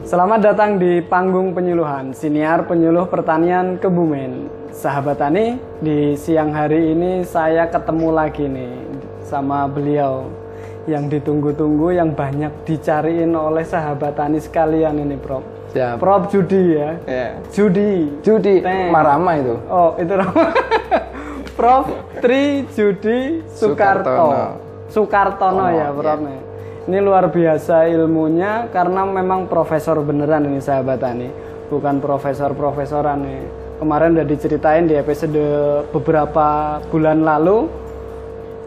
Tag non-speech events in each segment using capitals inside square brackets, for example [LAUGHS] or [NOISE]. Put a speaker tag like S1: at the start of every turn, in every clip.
S1: Selamat datang di panggung penyuluhan siniar penyuluh pertanian Kebumen. Sahabat tani, di siang hari ini saya ketemu lagi nih sama beliau yang ditunggu-tunggu yang banyak dicariin oleh sahabat tani sekalian ini, Prof.
S2: Siap.
S1: Prof Judi ya.
S2: Ya.
S1: Judi.
S2: Judi
S1: Teng.
S2: Marama itu.
S1: Oh, itu nama. [LAUGHS] Prof Tri Judi Sukarto. Sukartono, ya, Prof. nih. Ini luar biasa ilmunya karena memang profesor beneran ini sahabat tani, bukan profesor-profesoran nih. Kemarin udah diceritain di episode beberapa bulan lalu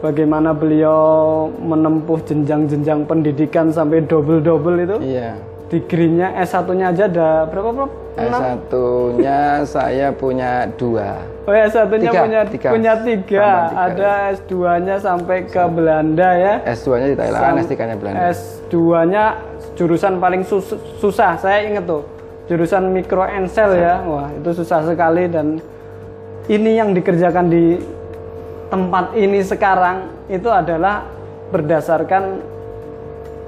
S1: bagaimana beliau menempuh jenjang-jenjang pendidikan sampai double-double itu.
S2: Iya.
S1: Degree-nya S1-nya aja ada berapa, Prof?
S2: S1-nya saya punya dua.
S1: Oh ya satunya
S2: Tiga,
S1: punya
S2: tiga.
S1: punya tiga,
S2: Tambah tiga,
S1: ada S2-nya sampai ke Belanda ya.
S2: S2-nya di Thailand, S3-nya Ah,
S1: Eh,
S2: Belanda.
S1: iya. S2-nya jurusan paling sus- susah, saya inget tuh. Jurusan mikro ensel ya. Wah, itu susah sekali dan ini yang dikerjakan di tempat ini sekarang itu adalah berdasarkan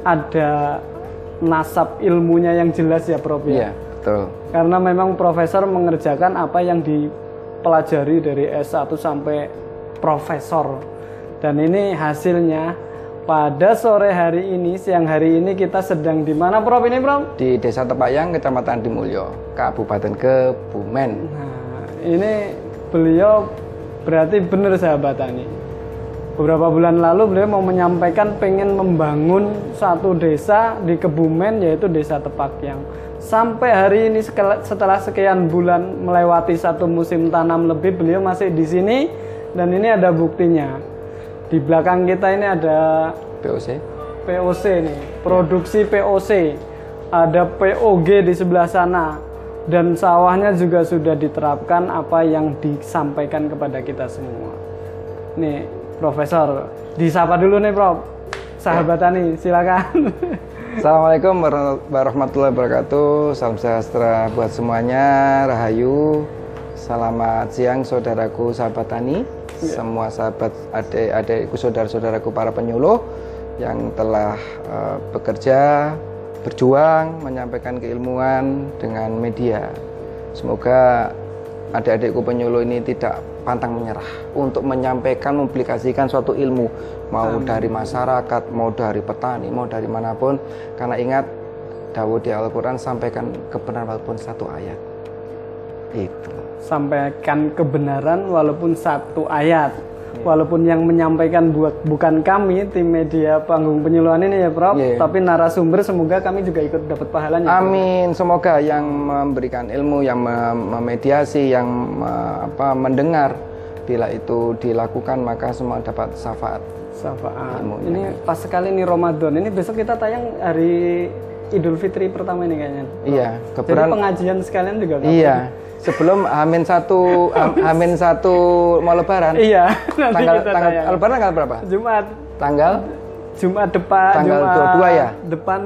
S1: ada nasab ilmunya yang jelas ya Prof ya
S2: Iya, betul.
S1: karena memang profesor mengerjakan apa yang dipelajari dari S1 sampai profesor dan ini hasilnya pada sore hari ini siang hari ini kita sedang di mana Prof ini Prof?
S2: Di Desa Tepayang, Kecamatan Dimulyo, Kabupaten Kebumen.
S1: Nah, ini beliau berarti benar sahabat Tani. Beberapa bulan lalu beliau mau menyampaikan pengen membangun satu desa di Kebumen yaitu Desa Tepakyang. Sampai hari ini sekela- setelah sekian bulan melewati satu musim tanam lebih beliau masih di sini dan ini ada buktinya. Di belakang kita ini ada
S2: POC.
S1: POC nih, produksi POC. Ada POG di sebelah sana dan sawahnya juga sudah diterapkan apa yang disampaikan kepada kita semua. Nih, Profesor, disapa dulu nih, Prof. Sahabat Tani, silakan. [LAUGHS]
S2: Assalamualaikum war- warahmatullahi wabarakatuh. Salam sejahtera buat semuanya. Rahayu. Selamat siang saudaraku sahabat tani, semua sahabat adik-adikku saudara-saudaraku para penyuluh yang telah eh, bekerja, berjuang menyampaikan keilmuan dengan media. Semoga adik-adikku penyuluh ini tidak pantang menyerah untuk menyampaikan, mempublikasikan suatu ilmu mau dari masyarakat, mau dari petani, mau dari manapun. Karena ingat Dawud di Al-Quran sampaikan kebenaran walaupun satu ayat. Itu.
S1: Sampaikan kebenaran walaupun satu ayat. Walaupun yang menyampaikan buat bukan kami tim media panggung penyuluhan ini ya, Prof,
S2: Iya.
S1: tapi narasumber semoga kami juga ikut dapat pahalanya.
S2: Amin. Semoga yang memberikan ilmu, yang mem- memediasi, yang me- apa, mendengar, bila itu dilakukan maka semua dapat syafaat.
S1: Safaan.
S2: Ilmu,
S1: Ini pas sekali nih Ramadan. Ini besok kita tayang hari Idul Fitri pertama ini kayaknya.
S2: Iya,
S1: Jadi
S2: kebenaran
S1: pengajian sekalian juga kan?
S2: Iya, sebelum Hamin satu,
S1: [LAUGHS]
S2: Ham- Hamin satu mau Lebaran.
S1: Iya, [LAUGHS] nanti
S2: Tanggal,
S1: kita
S2: tanggal
S1: tayang.
S2: Lebaran tanggal berapa?
S1: Jumat
S2: Tanggal
S1: Jumat depan
S2: Tanggal
S1: Jumat
S2: 22 ya?
S1: Depan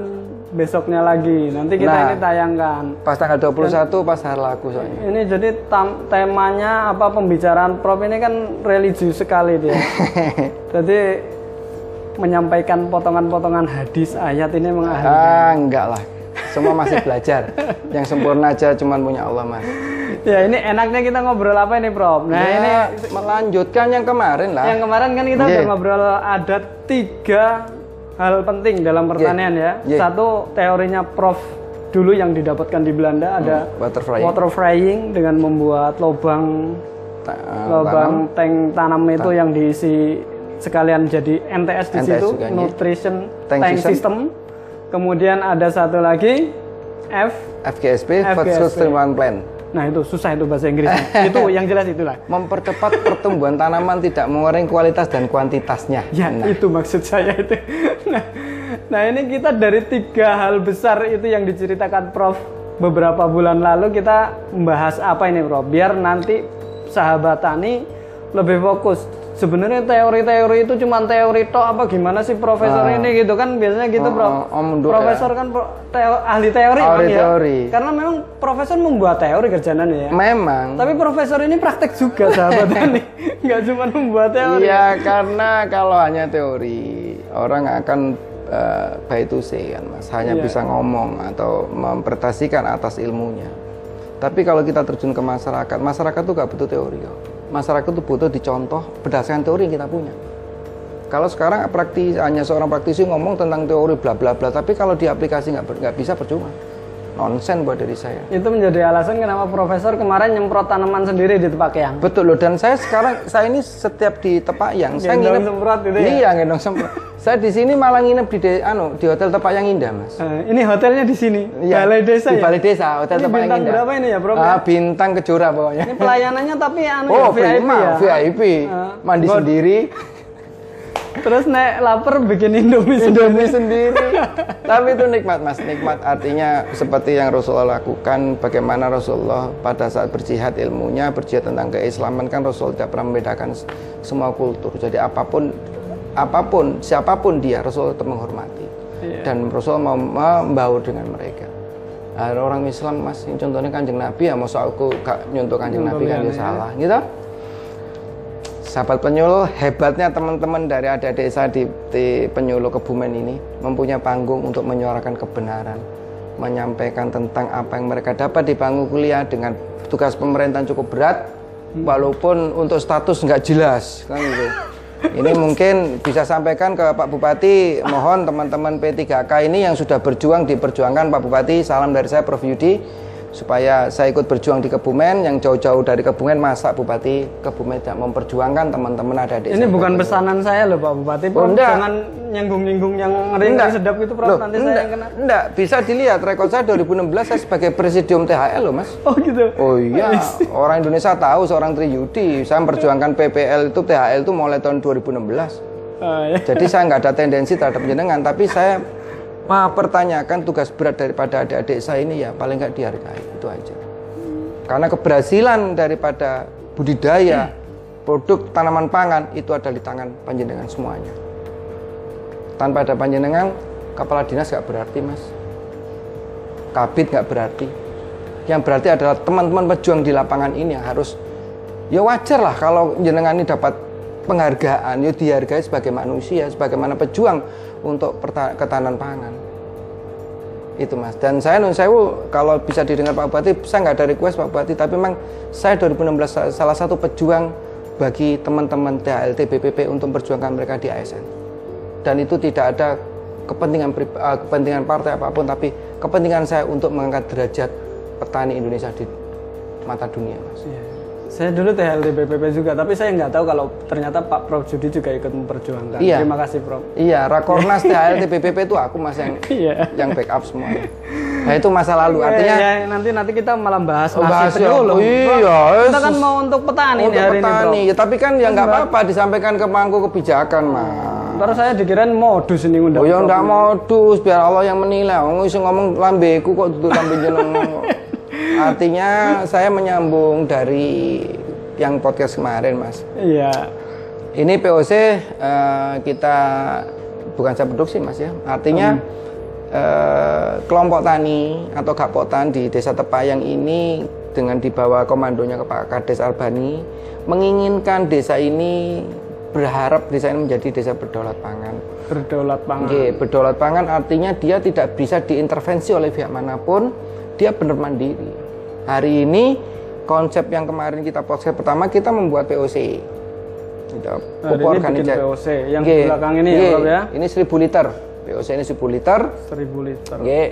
S1: besoknya lagi. Nanti kita
S2: Nah.
S1: ini tayangkan.
S2: pas tanggal 21 pas hari laku
S1: [LAUGHS]
S2: soalnya.
S1: Ini jadi tam- temanya apa pembicaraan Prof ini kan religius sekali
S2: [LAUGHS]
S1: dia. Iya. jadi menyampaikan potongan-potongan hadis ayat ini mengahli.
S2: Ah, enggak lah. Semua masih belajar. Yang sempurna aja cuman punya Allah, Mas.
S1: [LAUGHS] Ya ini enaknya kita ngobrol apa ini Prof? Nah
S2: Ya,
S1: ini
S2: melanjutkan yang kemarin lah.
S1: yang kemarin kan kita
S2: Iya.
S1: udah ngobrol ada tiga hal penting dalam pertanian ya.
S2: Iya.
S1: Satu teorinya Prof dulu yang didapatkan di
S2: Hmm.
S1: Belanda ada
S2: Butterfly.
S1: water frying dengan membuat lubang
S2: Ta- eh,
S1: lubang tank tanam itu
S2: Ah.
S1: yang diisi sekalian jadi NTS di
S2: NTS
S1: situ
S2: juga, iya.
S1: nutrition tank,
S2: Tank
S1: system.
S2: system.
S1: Kemudian ada satu lagi F.
S2: FGSP, Food
S1: FGSP.
S2: Sustainable Plan.
S1: Nah itu susah itu bahasa
S2: [LAUGHS]
S1: Inggrisnya. itu yang jelas itulah.
S2: Mempercepat pertumbuhan tanaman tidak mengurangi kualitas dan kuantitasnya.
S1: Ya, itu maksud saya itu. Nah, nah, ini kita dari tiga hal besar itu yang diceritakan Prof beberapa bulan lalu kita membahas apa ini Prof? Biar nanti sahabat tani lebih fokus. Sebenarnya teori-teori itu cuma teori tok apa gimana sih profesor ini gitu kan biasanya gitu Prof.
S2: Ah. oh, om Duk ya.
S1: profesor kan pro- teo- ahli teori
S2: Ahli
S1: memang ya.
S2: teori. Hmm.
S1: Karena memang profesor membuat teori kerjaan ya.
S2: Memang
S1: Tapi profesor ini praktek juga
S2: [LAUGHS]
S1: sahabat tani. Nggak cuma membuat teori.
S2: Iya, karena kalau hanya teori, orang akan eh, by to say kan mas hanya bisa ngomong atau mempresentasikan atas ilmunya tapi kalau kita terjun ke masyarakat masyarakat tuh gak butuh teori kok masyarakat tuh butuh dicontoh berdasarkan teori yang kita punya kalau sekarang praktis hanya seorang praktisi ngomong tentang teori bla bla bla tapi kalau di aplikasi nggak ber- nggak bisa percuma nonsen buat dari saya
S1: Itu menjadi alasan kenapa profesor kemarin nyemprot tanaman sendiri di tempat yang.
S2: Betul loh dan saya sekarang saya ini setiap di Tepayang saya
S1: Gendong
S2: nginep
S1: semprot gitu ya?
S2: Iya, gendong semprot. saya di sini malah nginep di de- anu di hotel Tepayang Indah, Mas. Iya.
S1: Eh, ini hotelnya di sini, Balai Desa
S2: di
S1: ya.
S2: Balai Desa, hotel
S1: Ini
S2: Tepayang
S1: bintang
S2: Indah.
S1: berapa ini ya, Bro?
S2: Ah, bintang kejora pokoknya.
S1: Ini pelayanannya tapi anu ya,
S2: Oh,
S1: VIP
S2: prima,
S1: ya.
S2: VIP.
S1: Ah.
S2: Mandi sendiri,
S1: Terus nek lapar bikin Indomie sendiri.
S2: Indomie sendiri. [LAUGHS] Tapi itu nikmat, Mas. Nikmat artinya seperti yang Rasulullah lakukan, bagaimana Rasulullah pada saat berjihad ilmunya, berjihad tentang keislaman kan Rasul tidak pernah membedakan s- semua kultur. Jadi apapun apapun siapapun dia Rasul tetap menghormati. Dan Rasul mau membaur dengan mereka. Ada orang Islam Mas, yang contohnya Kanjeng Nabi ya, masa aku gak nyontoh Kanjeng Nabi kan ya salah, gitu. Sahabat penyuluh, hebatnya teman-teman dari ada desa di, di penyuluh Kebumen ini mempunyai panggung untuk menyuarakan kebenaran, menyampaikan tentang apa yang mereka dapat di panggung kuliah dengan tugas pemerintahan cukup berat, walaupun untuk status nggak jelas kan gitu. Ini mungkin bisa sampaikan ke Pak Bupati, mohon teman-teman P3K ini yang sudah berjuang diperjuangkan Pak Bupati, salam dari saya Prof Yudi supaya saya ikut berjuang di Kebumen yang jauh-jauh dari Kebumen masa Bupati Kebumen tidak memperjuangkan teman-teman ada di
S1: Ini bukan pesanan saya loh Pak Bupati. Prof.
S2: enggak.
S1: Jangan nyinggung-nyinggung yang ngeri ngeri sedap itu Prof. Nanti saya yang kena.
S2: enggak, bisa dilihat rekod saya 2016 saya sebagai presidium THL loh Mas
S1: Oh gitu.
S2: Oh iya, orang Indonesia tahu seorang Triyudi saya memperjuangkan PPL itu THL itu mulai tahun 2016
S1: Ah, ya.
S2: jadi saya nggak ada tendensi terhadap jenengan tapi saya mempertanyakan tugas berat daripada adik-adik saya ini ya paling nggak dihargai itu aja karena keberhasilan daripada budidaya produk tanaman pangan itu ada di tangan panjenengan semuanya tanpa ada panjenengan kepala dinas nggak berarti mas kabit nggak berarti yang berarti adalah teman-teman pejuang di lapangan ini yang harus ya wajar lah kalau jenengan ini dapat penghargaan ya dihargai sebagai manusia sebagaimana pejuang untuk perta- ketahanan pangan itu mas dan saya nun sewu kalau bisa didengar Pak Bupati saya nggak ada request Pak Bupati tapi memang saya 2016 sa- salah satu pejuang bagi teman-teman THLT BPP untuk memperjuangkan mereka di ASN dan itu tidak ada kepentingan pri- eh, kepentingan partai apapun tapi kepentingan saya untuk mengangkat derajat petani Indonesia di mata dunia mas
S1: Iya. Saya dulu THLD BPP juga, tapi saya nggak tahu kalau ternyata Pak Prof Judi juga ikut memperjuangkan.
S2: Iya.
S1: Terima kasih Prof.
S2: Iya,
S1: [LAUGHS]
S2: Rakornas THLT BPP itu aku mas yang
S1: Iya.
S2: yang backup semua. Nah itu masa lalu artinya
S1: Ya, ya, nanti nanti kita malah bahas
S2: Oh, bahas
S1: nasib
S2: ya.
S1: dulu.
S2: Iya,
S1: Prof. Kita
S2: Yesus.
S1: kan mau untuk petani
S2: untuk
S1: nih hari
S2: Oh, petani.
S1: ini
S2: Ya, tapi kan ya nggak apa-apa disampaikan ke mangku kebijakan mas.
S1: Prof. Terus saya dikirain modus ini undang.
S2: Oh ya
S1: Prof.
S2: nggak modus biar Allah yang menilai. Wong iso ngomong lambeku kok duduk lambe jenengmu.
S1: [LAUGHS]
S2: Artinya saya menyambung dari yang podcast kemarin mas.
S1: Iya.
S2: Ini POC eh, kita bukan saya produksi mas ya. Artinya eh, kelompok tani atau gapotan di Desa Tepayang ini dengan dibawa komandonya ke Pak Kades Albani menginginkan desa ini berharap desa ini menjadi desa berdaulat pangan.
S1: Berdaulat pangan.
S2: Nggih, berdaulat pangan artinya dia tidak bisa diintervensi oleh pihak manapun, dia benar mandiri. Hari ini konsep yang kemarin kita podcast pertama kita membuat POC. Gitu,
S1: Nah, ini
S2: pupuk
S1: bikin
S2: organik.
S1: POC yang di
S2: Nggih,
S1: belakang ini ya
S2: nggih,
S1: Prof ya.
S2: Ini 1000 liter. POC ini 1000 liter.
S1: 1000 liter.
S2: Nggih.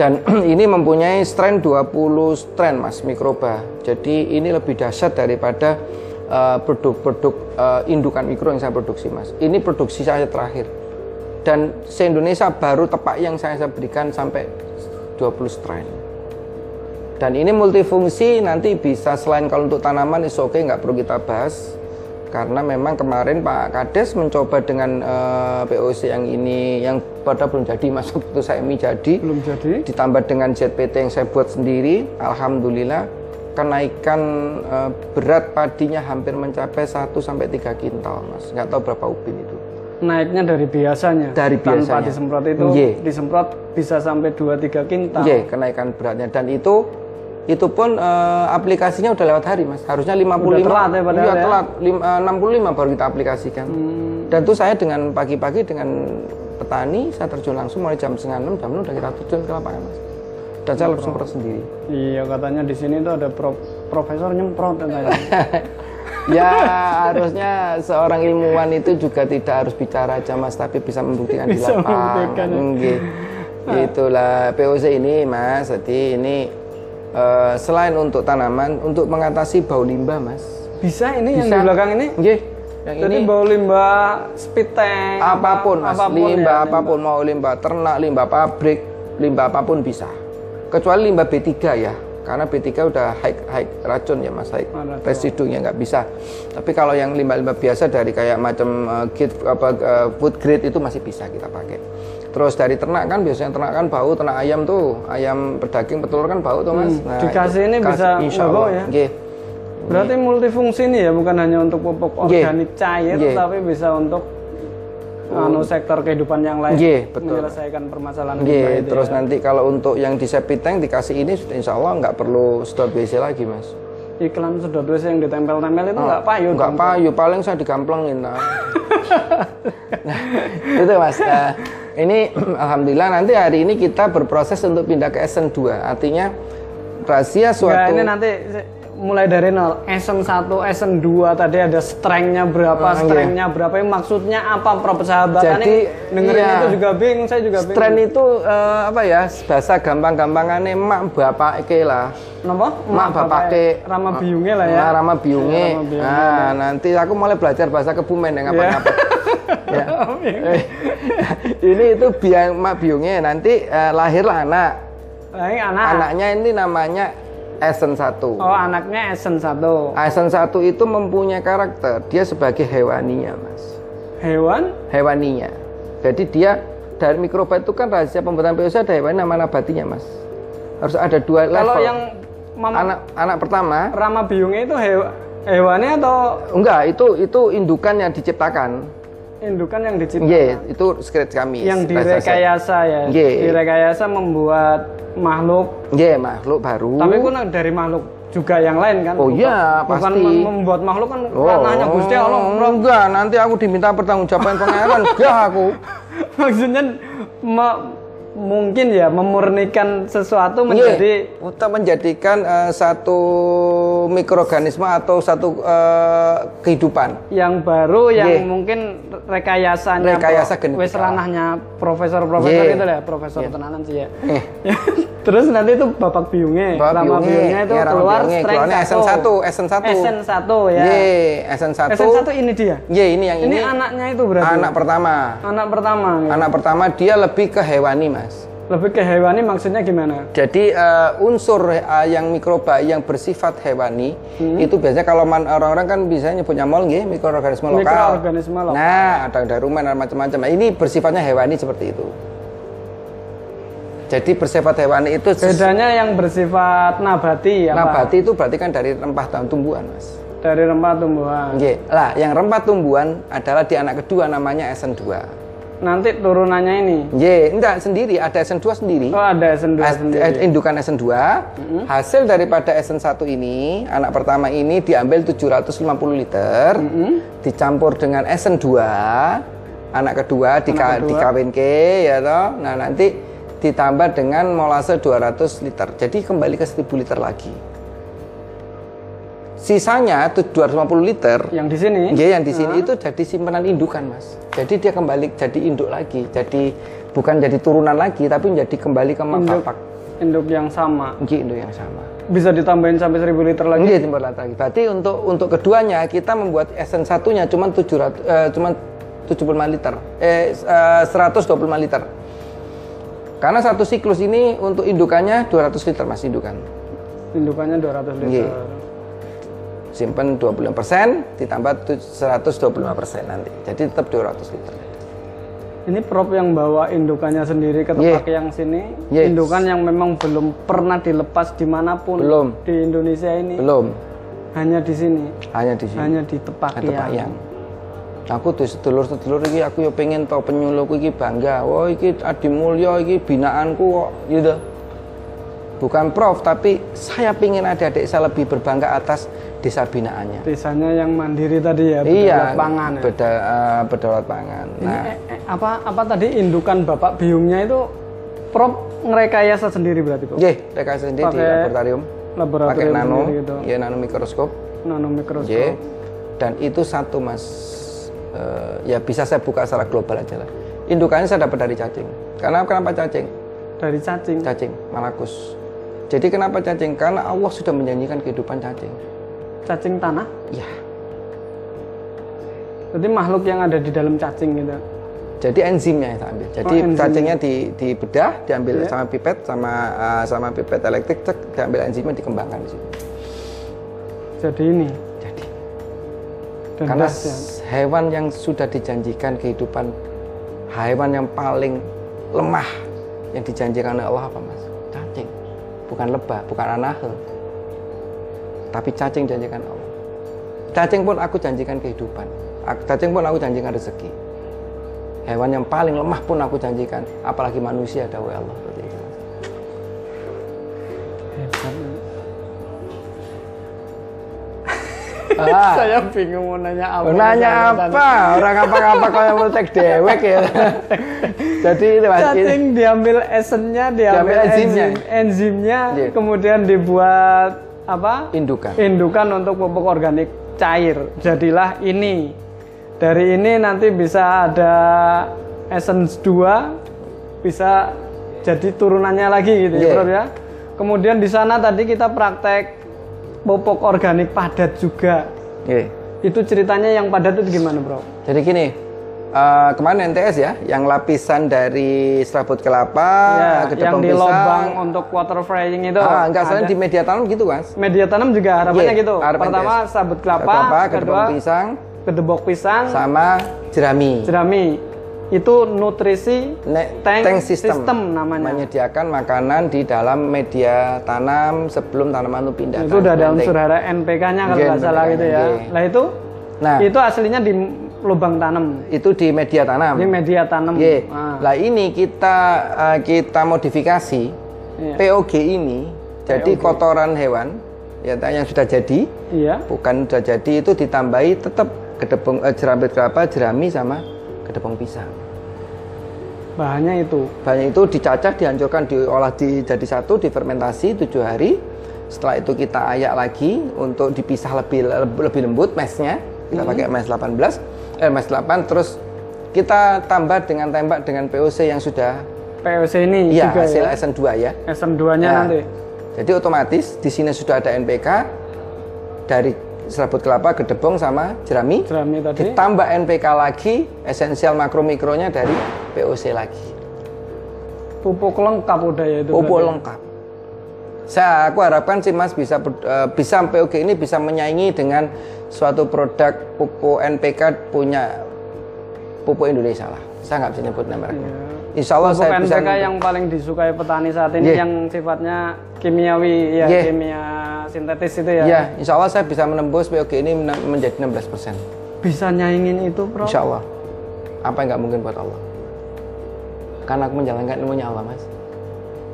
S2: Dan [CLEARS THROAT] ini mempunyai strain 20 strain Mas mikroba. Jadi ini lebih dahsyat daripada eh, produk-produk eh, indukan mikro yang saya produksi Mas. Ini produksi saya terakhir. Dan se-Indonesia baru tepak yang saya, saya berikan sampai 20 strain. Dan ini multifungsi nanti bisa selain kalau untuk tanaman is oke nggak perlu kita bahas karena memang kemarin Pak Kades mencoba dengan eh, POC yang ini yang pada belum jadi masuk itu saya mi jadi
S1: Belum jadi.
S2: ditambah dengan ZPT yang saya buat sendiri alhamdulillah kenaikan eh, berat padinya hampir mencapai 1 sampai 3 kintal Mas nggak tahu berapa ubin itu
S1: Naiknya dari biasanya.
S2: Dari
S1: Tanpa
S2: biasanya.
S1: disemprot itu
S2: Nggih.
S1: disemprot bisa sampai 2 3 kintal.
S2: Iya, kenaikan beratnya dan itu itu pun eh, aplikasinya udah lewat hari mas harusnya 55
S1: Udah telat ya Hmm. padahal
S2: Iya,
S1: ya.
S2: telat Lim- eh, 65 baru kita aplikasikan dan tuh saya dengan pagi-pagi dengan petani, saya terjun langsung mulai jam setengah enam, jam enam udah kita terjun ke lapangan mas. Dan saya langsung semprot sendiri.
S1: Iya katanya di sini tuh ada pro- profesor nyemprot katanya.
S2: [LAUGHS] Ya harusnya seorang ilmuwan itu juga tidak harus bicara aja mas, tapi bisa membuktikan di
S1: Bisa membuktikan, Ah.
S2: lapangan.
S1: ya.
S2: Nggih. Itulah POC ini mas. Jadi ini eh, selain untuk tanaman, untuk mengatasi bau limbah mas.
S1: Bisa ini yang
S2: Bisa.
S1: di belakang ini?
S2: Nggih. Yang
S1: Jadi
S2: ini
S1: bau limbah speed tank
S2: apapun mas
S1: apapun ya.
S2: limbah apapun mau limbah ternak limbah pabrik limbah apapun bisa kecuali limbah B3 ya karena B3 udah high, high racun ya mas high
S1: Racun.
S2: residunya nggak bisa tapi kalau yang limbah-limbah biasa dari kayak macam eh, git- apa, eh, food grade itu masih bisa kita pakai terus dari ternak kan biasanya ternak kan bau ternak ayam tuh ayam pedaging petelur kan bau tuh mas Nah,
S1: Hmm, dikasih ini bisa
S2: insya
S1: ngebau
S2: Allah.
S1: ya?
S2: Nggih.
S1: Berarti
S2: Iya.
S1: multifungsi nih ya, bukan hanya untuk pupuk
S2: Nggih.
S1: organik cair,
S2: Nggih.
S1: tapi bisa untuk anu sektor kehidupan yang lain
S2: Nggih, Oh. Iya, betul.
S1: menyelesaikan permasalahan limbah
S2: Iya,
S1: itu
S2: terus
S1: ya.
S2: nanti kalau untuk yang di septic tank dikasih ini sudah insya Allah nggak perlu stop BC lagi mas.
S1: Iklan sedot WC yang ditempel-tempel itu nggak payung.
S2: Oh,
S1: Nah,
S2: Nggak payu, paling saya digamplengin lah. nah, itu mas. Nah, ini alhamdulillah nanti hari ini kita berproses untuk pindah ke SN 2 Artinya rahasia
S1: Nggak,
S2: suatu
S1: Ya, ini nanti se- mulai dari nol. Esen 1, Esen 2 tadi ada strength-nya berapa,
S2: Ah, iya.
S1: strength-nya berapa, ini maksudnya apa persahabatannya
S2: Jadi,
S1: dengerin
S2: iya.
S1: itu juga bingung, saya juga bingung.
S2: tren itu eh, apa ya bahasa gampang-gampangannya mak bapak eke lah.
S1: Napa? ya?
S2: Mak bapake.
S1: Rama biungnya lah ya.
S2: Nah,
S1: [LAUGHS]
S2: Rama Biunge.
S1: Rama Biunge.
S2: Nah, nanti aku mulai belajar bahasa Kebumen yang
S1: [LAUGHS]
S2: apa-apa. ya.
S1: Oh, iya.
S2: Eh, ini itu biang mak biungnya nanti eh, lahirlah anak.
S1: Nah, ini anak.
S2: Anaknya ini namanya Esen 1.
S1: Oh, anaknya Esen 1.
S2: Esen 1 itu mempunyai karakter. Dia sebagai hewaninya, Mas.
S1: Hewan
S2: Hewaninya. Jadi dia dari mikroba itu kan rahasia pembuatan POC ada hewani sama nabatinya, Mas. Harus ada dua level.
S1: Kalau yang mama
S2: anak anak pertama
S1: Rama Biungnya itu hewa- hewannya atau
S2: enggak itu itu indukan yang diciptakan.
S1: indukan yang diciptakan?
S2: Iya, itu script kami.
S1: Yang
S2: bahasa saya.
S1: direkayasa ya.
S2: Iya.
S1: Direkayasa membuat makhluk.
S2: Iya, makhluk baru.
S1: Tapi kan dari makhluk juga yang lain kan?
S2: Oh,
S1: Bukan-
S2: iya,
S1: Bukan
S2: pasti. Oh.
S1: mem- membuat makhluk kan ranahnya Gusti Allah. [LAUGHS] Bro.
S2: Enggak, nanti aku diminta pertanggungjawaban pangeran. Enggak aku.
S1: Maksudnya me- mungkin ya memurnikan sesuatu menjadi
S2: Iya, Kita menjadikan eh, satu mikroorganisme atau satu eh, kehidupan.
S1: yang baru yang
S2: Iya.
S1: mungkin rekayasanya
S2: Rekayasa
S1: pro- wis
S2: genetika.
S1: ranahnya profesor-profesor
S2: Iya.
S1: gitu lah ya, profesor tenanan sih ya.
S2: Eh,
S1: [LAUGHS] Terus nanti itu bapak biungnya,
S2: Bapak
S1: Rama
S2: biungnya,
S1: biungnya itu
S2: iya, Rama
S1: keluar
S2: biungnya,
S1: strength
S2: keluarnya SN1, SN1.
S1: SN1 ya.
S2: Ye, SN1.
S1: SN1 ini dia.
S2: Ye, ini yang
S1: Ini,
S2: Iya, ini,
S1: anaknya itu berarti.
S2: anak pertama.
S1: Anak pertama. ya.
S2: Anak pertama dia lebih ke hewani, Mas.
S1: Lebih ke hewani maksudnya gimana?
S2: Jadi eh, unsur eh, yang mikroba yang bersifat hewani
S1: Hmm.
S2: itu biasanya kalau man- orang-orang kan bisa nyebutnya mol nggih, mikroorganisme lokal.
S1: Mikroorganisme lokal.
S2: Nah, ada ada rumen dan macam-macam. Nah, Ini bersifatnya hewani seperti itu. Jadi bersifat hewani itu ses-
S1: Bedanya yang bersifat nabati ya, Pak.
S2: nabati itu berarti kan dari rempah dan tumbuhan, Mas.
S1: Dari rempah tumbuhan.
S2: Nggih. Lah, yang rempah tumbuhan adalah di anak kedua namanya SN2.
S1: Nanti turunannya ini.
S2: Nggih, enggak sendiri, ada SN2 sendiri.
S1: Oh, ada SN2
S2: Hmm. As-
S1: sendiri.
S2: eh, Mm-hmm. indukan SN2 hasil daripada SN1 ini anak pertama ini diambil 750 liter Mm-hmm. dicampur dengan SN2 anak kedua dika, dikawinke, ya toh nah nanti ditambah dengan molase 200 liter jadi kembali ke 1000 liter lagi sisanya tuh 250 liter
S1: Yang di sini.
S2: Iya yang di sini itu jadi simpanan indukan mas. Jadi dia kembali jadi induk lagi. Jadi bukan jadi turunan lagi, tapi menjadi kembali ke mak bapak.
S1: Induk yang sama.
S2: Nggih, induk yang sama.
S1: Bisa ditambahin sampai 1000 liter lagi.
S2: Nggih, timbul lagi. Berarti untuk untuk keduanya kita membuat SN satunya cuma 700 eh, cuma 75 liter. Eh s- eh, 125 liter. Karena satu siklus ini untuk indukannya 200 liter mas indukan.
S1: Indukannya 200 liter.
S2: Hmm. Iya. Simpen 25% ditambah tu- 125% nanti. Jadi tetap 200 liter.
S1: Ini prop yang bawa indukannya sendiri ke tempat yang sini,
S2: Yes.
S1: indukan yang memang belum pernah dilepas dimanapun
S2: Belum.
S1: di Indonesia ini,
S2: Belum.
S1: hanya di sini,
S2: Hanya di sini.
S1: hanya di tepak
S2: Ada
S1: ya.
S2: bayang. Aku tuh sedulur-sedulur iki aku yo pengen tau penyuluku iki bangga. Wah iki Adi Mulya iki binaanku kok gitu. bukan prof tapi saya pingin adik-adik saya lebih berbangga atas desa binaannya
S1: Desanya yang mandiri tadi ya,
S2: iya
S1: berdaulat pangan. Ya.
S2: beda, eh, berdaulat pangan
S1: Ini
S2: nah
S1: eh, eh, apa apa tadi indukan bapak biungnya itu prop ngerekayasa sendiri berarti kok.
S2: ye rekayasa sendiri di
S1: Pakai
S2: laboratorium Iya. pakai
S1: Laboratorium
S2: nano Iya.
S1: sendiri gitu. Oh.
S2: ya nano mikroskop
S1: Nano mikroskop.
S2: Ye. Dan itu satu mas, eh, ya bisa saya buka secara global aja lah. Indukannya saya dapat dari cacing. Karena kenapa cacing?
S1: Dari cacing.
S2: Cacing, malakus. Jadi kenapa cacing? Karena Allah sudah menjanjikan kehidupan cacing.
S1: Cacing tanah.
S2: Ya.
S1: Jadi makhluk yang ada di dalam cacing gitu.
S2: Jadi enzimnya yang saya ambil. Jadi
S1: enzimnya.
S2: cacingnya di, dibedah, diambil sama pipet, sama eh, sama pipet elektrik, cek, diambil enzimnya dikembangkan di situ.
S1: Jadi ini.
S2: Jadi
S1: Dan
S2: Karena
S1: dasnya.
S2: s- hewan yang sudah dijanjikan kehidupan hewan yang paling lemah yang dijanjikan oleh Allah apa mas? Cacing, bukan lebah, bukan anahe, tapi cacing janjikan Allah. Cacing pun aku janjikan kehidupan, Ak- cacing pun aku janjikan rezeki. Hewan yang paling lemah pun aku janjikan, apalagi manusia ada oleh Allah. Seperti itu, Mas.
S1: Hebat.
S2: Ah,
S1: [LAUGHS] Saya bingung mau nanya apa.
S2: Oh, nanya
S1: Saya tanya.
S2: apa? Orang apa-apa kau yang multek dewek [LAUGHS] ya. Jadi itu Mas, ini-
S1: Cacing diambil esennya, diambil,
S2: Diambil enzimnya.
S1: enzim- enzimnya,
S2: Iya.
S1: kemudian dibuat apa?
S2: indukan.
S1: Indukan untuk pupuk organik cair. Jadilah ini. Dari ini nanti bisa ada essence 2 bisa jadi turunannya lagi gitu ya,
S2: Iya.
S1: Prof ya. Kemudian di sana tadi kita praktek pupuk organik padat juga.
S2: Oke.
S1: Itu ceritanya yang padat itu gimana, Bro?
S2: Jadi gini, eh, kemarin NTS ya, yang lapisan dari serabut kelapa,
S1: Iya,
S2: gede
S1: Ya, yang di
S2: Ah, pisang.
S1: lobang untuk water frying itu.
S2: Ah, enggak
S1: ada.
S2: salah di media tanam gitu mas.
S1: media tanam juga harapannya
S2: Iya,
S1: gitu.
S2: harapan
S1: Pertama
S2: tes.
S1: sabut
S2: Serabut
S1: kelapa, kedua
S2: gedebong pisang,
S1: kedebok pisang,
S2: sama jerami.
S1: jerami. Itu nutrisi
S2: Ne-
S1: tank
S2: system.
S1: system namanya.
S2: Menyediakan makanan di dalam media tanam sebelum tanaman itu pindah.
S1: itu udah ada
S2: transplanting.
S1: unsur hara NPK-nya kalau
S2: Iya,
S1: nggak salah
S2: NPK,
S1: gitu ya.
S2: iya.
S1: Lah itu
S2: Nah.
S1: itu aslinya di lubang tanam.
S2: Itu di media tanam.
S1: Ini media tanam.
S2: Ye.
S1: Ah,
S2: Lah ini kita eh, kita modifikasi
S1: Iya.
S2: POG ini jadi kotoran hewan ya yang sudah jadi
S1: iya.
S2: bukan sudah jadi itu ditambahi tetap gedebong eh, jerami kelapa, jerami sama gedebong pisang.
S1: Bahannya itu.
S2: Bahannya itu dicacah, dihancurkan, diolah di, jadi satu, difermentasi tujuh hari. Setelah itu kita ayak lagi untuk dipisah lebih lebih lembut mesnya. Kita
S1: Hmm.
S2: pakai mes 18, eh mes 8 terus kita tambah dengan tembak dengan POC yang sudah
S1: POC ini
S2: Iya,
S1: juga
S2: hasil
S1: ya.
S2: SN2 ya.
S1: SM2-nya
S2: Nah,
S1: nanti.
S2: Jadi otomatis di sini sudah ada NPK dari serabut kelapa, gedebong sama jerami.
S1: Jerami tadi.
S2: Ditambah NPK lagi, esensial makro mikronya dari POC lagi.
S1: Pupuk lengkap udah ya itu.
S2: Pupuk
S1: berarti.
S2: lengkap. Saya aku harapkan sih Mas bisa ber- eh, bisa POG ini bisa menyaingi dengan suatu produk pupuk NPK punya pupuk Indonesia lah. Saya nggak bisa nyebut mereknya.
S1: Iya.
S2: Insya Allah
S1: Pupuk
S2: saya bisa
S1: NPK yang paling disukai petani saat ini
S2: Iya.
S1: yang sifatnya kimiawi ya
S2: Iya.
S1: kimia sintetis itu ya.
S2: Ya, insya Allah saya bisa menembus POG ini men- menjadi 16 persen.
S1: Bisa nyaingin itu, Bro.
S2: Insya Allah. Apa yang nggak mungkin buat Allah? Karena aku menjalankan ilmunya Allah, Mas.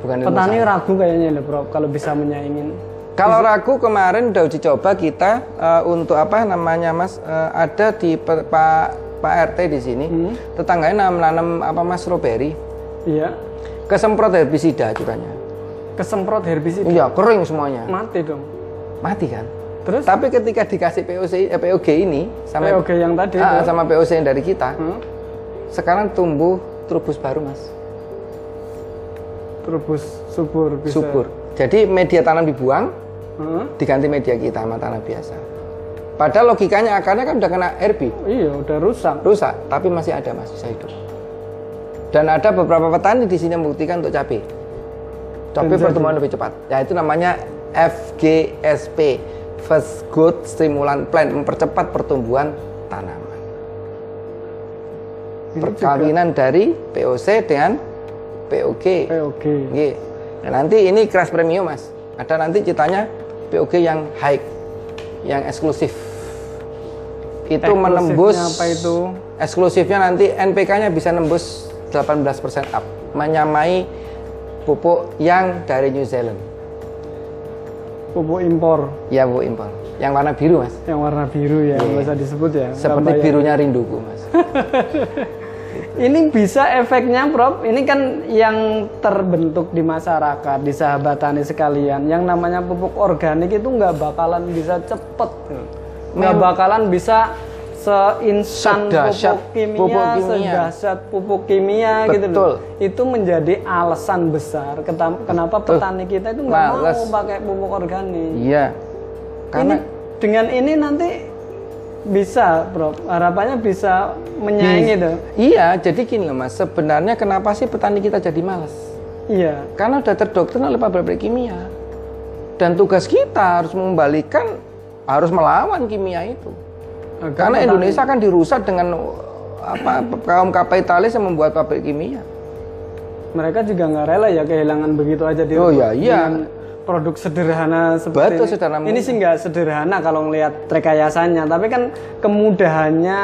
S2: Bukan ilmu
S1: Petani
S2: saya.
S1: ragu kayaknya deh, Bro, kalau bisa menyaingin.
S2: Kalau ragu kemarin udah uji coba kita eh, untuk apa namanya, Mas? Eh, ada di pe- Pak Pak RT di sini.
S1: Hmm.
S2: Tetangganya nanam, nanam apa Mas stroberi.
S1: Iya.
S2: Kesemprot herbisida curahnya.
S1: Kesemprot herbisida
S2: Iya, kering semuanya.
S1: mati dong.
S2: Mati kan?
S1: Terus
S2: Tapi ketika dikasih POC, eh, POG ini sama
S1: POG yang tadi
S2: Ah,
S1: Bro.
S2: sama POC yang dari kita,
S1: Hmm?
S2: sekarang tumbuh trubus baru, Mas.
S1: Trubus subur bisa.
S2: subur. Jadi media tanam dibuang,
S1: Hmm?
S2: diganti media kita sama tanah biasa. Padahal logikanya akarnya kan udah kena RB,
S1: Iya, udah rusak.
S2: rusak, tapi masih ada mas bisa hidup. Dan ada beberapa petani di sini yang membuktikan untuk cabai. Cabai
S1: Dan jadi.
S2: pertumbuhan lebih cepat. Ya itu namanya FGSP, First Growth Stimulant Plant, mempercepat pertumbuhan tanaman.
S1: Ini
S2: Perkawinan dari POC dengan POG.
S1: POG.
S2: Nggih. Nah, nanti ini kelas premium mas. Ada nanti ceritanya POG yang high, yang eksklusif. Itu
S1: Eksklusifnya
S2: menembus
S1: apa itu?
S2: Eksklusifnya nanti NPK-nya bisa nembus 18% up, menyamai pupuk yang dari New Zealand.
S1: pupuk impor
S2: Ya bu impor. Yang warna biru mas.
S1: yang warna biru ya, nggak usah disebut ya.
S2: Iya. Seperti
S1: Tambah ya.
S2: birunya rinduku mas.
S1: Ini bisa efeknya, Prof. Ini kan yang terbentuk di masyarakat, di sahabat tani sekalian. Yang namanya pupuk organik itu nggak bakalan bisa cepet, nggak bakalan bisa seinstan
S2: Sedahsyat
S1: pupuk kimia,
S2: pupuk kimia.
S1: sedahsyat pupuk kimia gitu
S2: Betul.
S1: loh. Itu menjadi alasan besar ketam- kenapa petani kita itu nggak
S2: Males.
S1: mau pakai pupuk organik.
S2: Iya. Karena
S1: Ini dengan ini nanti bisa, Prof. Harapannya bisa menyaingi tuh.
S2: iya. Jadi gini loh mas. Sebenarnya kenapa sih petani kita jadi malas?
S1: Iya.
S2: Karena sudah terdoktrin oleh pabrik-pabrik kimia. Dan tugas kita harus mengembalikan, harus melawan kimia itu.
S1: Agar
S2: Karena Indonesia kan dirusak dengan uh, apa kaum kapitalis yang membuat pabrik kimia.
S1: mereka juga nggak rela ya kehilangan begitu aja di
S2: Oh, ya, iya.
S1: dengan produk sederhana seperti
S2: Betul,
S1: ini.
S2: saudara.
S1: Ini sih nggak sederhana kalau ngelihat rekayasanya, tapi kan kemudahannya,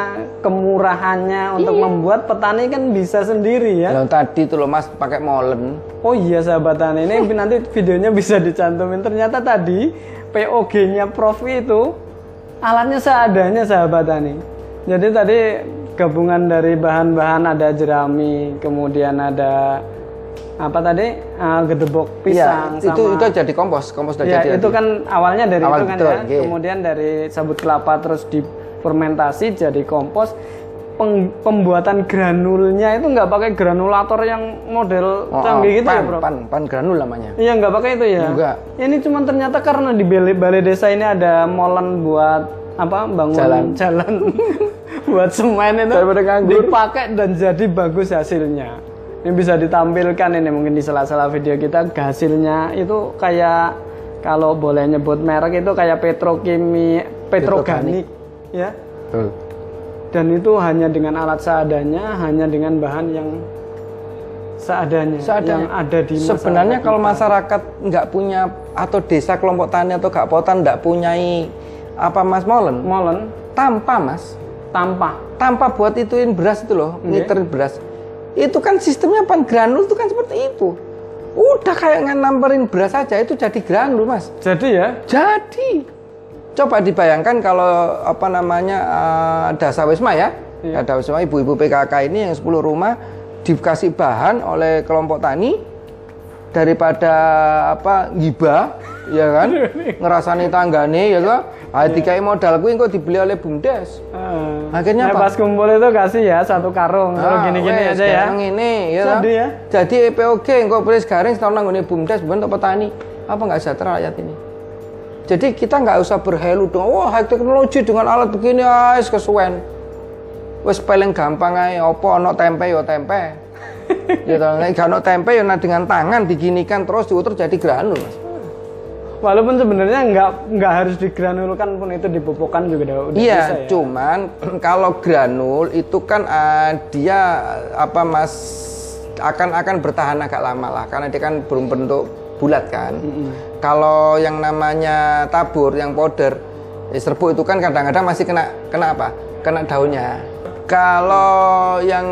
S1: kemurahannya untuk
S2: Iya.
S1: membuat petani kan bisa sendiri ya.
S2: Yang tadi itu loh mas pakai molen.
S1: Oh iya sahabat tani, ini nanti videonya bisa dicantumin. Ternyata tadi POG-nya Prof itu alatnya seadanya sahabat tani. Jadi tadi gabungan dari bahan-bahan ada jerami, kemudian ada apa tadi Ah, gedebok pisang
S2: Iya, itu
S1: sama
S2: itu jadi kompos, kompos sudah
S1: ya
S2: jadi.
S1: itu
S2: tadi.
S1: kan awalnya dari
S2: Awal
S1: itu kan
S2: betul,
S1: ya
S2: iya.
S1: kemudian dari sabut kelapa terus difermentasi jadi kompos Peng- pembuatan granulnya itu nggak pakai granulator yang model
S2: Oh, oh,
S1: canggih gitu
S2: pan,
S1: ya bro
S2: pan, pan granul namanya.
S1: Iya nggak pakai itu ya.
S2: Enggak.
S1: Ini cuma ternyata karena di balai, balai desa ini ada molen buat apa bangun
S2: Jalan.
S1: jalan [LAUGHS] buat semen itu
S2: Daripada nganggur.
S1: dipakai dan jadi bagus hasilnya. Ini bisa ditampilkan ini mungkin di sela-sela video kita hasilnya itu kayak kalau boleh nyebut merek itu kayak petrokimi petroganik ya.
S2: Betul.
S1: Dan itu hanya dengan alat seadanya, hanya dengan bahan yang seadanya,
S2: Seadanya.
S1: yang ada di
S2: Sebenarnya kalau masyarakat nggak punya atau desa kelompok tani atau gakpotan nggak punyai apa mas molen,
S1: molen
S2: tanpa mas,
S1: tanpa
S2: tanpa buat ituin beras itu loh, ngiterin beras. Itu kan sistemnya pan granul itu kan seperti itu. Udah kayak nggak namperin beras aja itu jadi granul mas.
S1: Jadi ya,
S2: Jadi coba dibayangkan kalau apa namanya eh, Dasa Wisma ya, ada Wisma ibu-ibu PKK ini yang 10 rumah dikasih bahan oleh kelompok tani daripada apa giba ya kan ngerasani tanggane ya kan ah dikai modal kuwi engko dibeli oleh bumdes
S1: eh,
S2: Akhirnya
S1: nah,
S2: apa?
S1: pas kumpul itu kasih ya satu karung, kalau
S2: Ah,
S1: gini-gini
S2: wes,
S1: aja ya.
S2: gareng ini, ya
S1: Jadi
S2: toh?
S1: ya.
S2: Jadi EPOG engko beris garing setahun nanggone bumdes bentuk petani. Apa nggak sejahtera rakyat ini? Jadi kita nggak usah berhelu dong. Wah, high teknologi dengan alat begini guys kesuwen. Wes paling gampang ae opo ono tempe yo tempe.
S1: [LAUGHS]
S2: ya toh, nek gak ono tempe yo nah dengan tangan diginikan terus diutur jadi granul. Mas.
S1: Walaupun sebenarnya nggak nggak harus digranulkan pun itu dipupukkan juga udah, udah
S2: Iya,
S1: bisa ya.
S2: cuman [CLEARS THROAT] kalau granul itu kan ah, dia apa mas akan akan bertahan agak lama lah karena dia kan belum bentuk bulat kan. Kalau yang namanya tabur, yang powder, eh, serbuk itu kan kadang-kadang masih kena kena apa? Kena daunnya. Kalau yang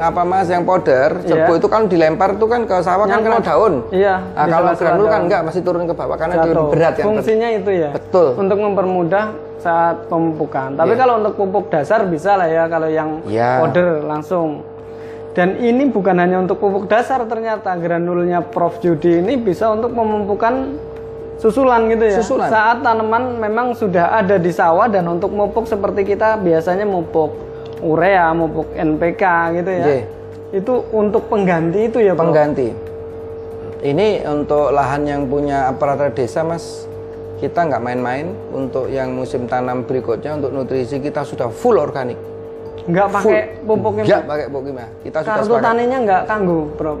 S2: apa mas, yang powder, serbuk itu kan dilempar itu kan ke sawah kan kena daun.
S1: Iya.
S2: Nah,
S1: di
S2: kalau
S1: kelas
S2: granul kan
S1: ada
S2: enggak, masih turun ke bawah karena dia
S1: jatuh.
S2: berat yang
S1: Fungsinya itu ya.
S2: Betul.
S1: Untuk mempermudah saat pemupukan. Tapi kalau untuk pupuk dasar bisa lah ya kalau yang
S2: Iya.
S1: order langsung. Dan ini bukan hanya untuk pupuk dasar ternyata granulnya Prof Judi ini bisa untuk memumpukan susulan gitu ya.
S2: Susulan.
S1: Saat tanaman memang sudah ada di sawah dan untuk mupuk seperti kita biasanya mupuk urea, mupuk NPK gitu ya.
S2: Iya.
S1: Itu untuk pengganti itu ya, Prof.
S2: pengganti. Ini untuk lahan yang punya aparatur desa, Mas. Kita nggak main-main. Untuk yang musim tanam berikutnya, untuk nutrisi kita sudah full organik.
S1: Nggak pakai pupuk kimia.
S2: Nggak pakai pupuk kimia. Kita sudah
S1: Kartu taninya nggak kanggu, Bro.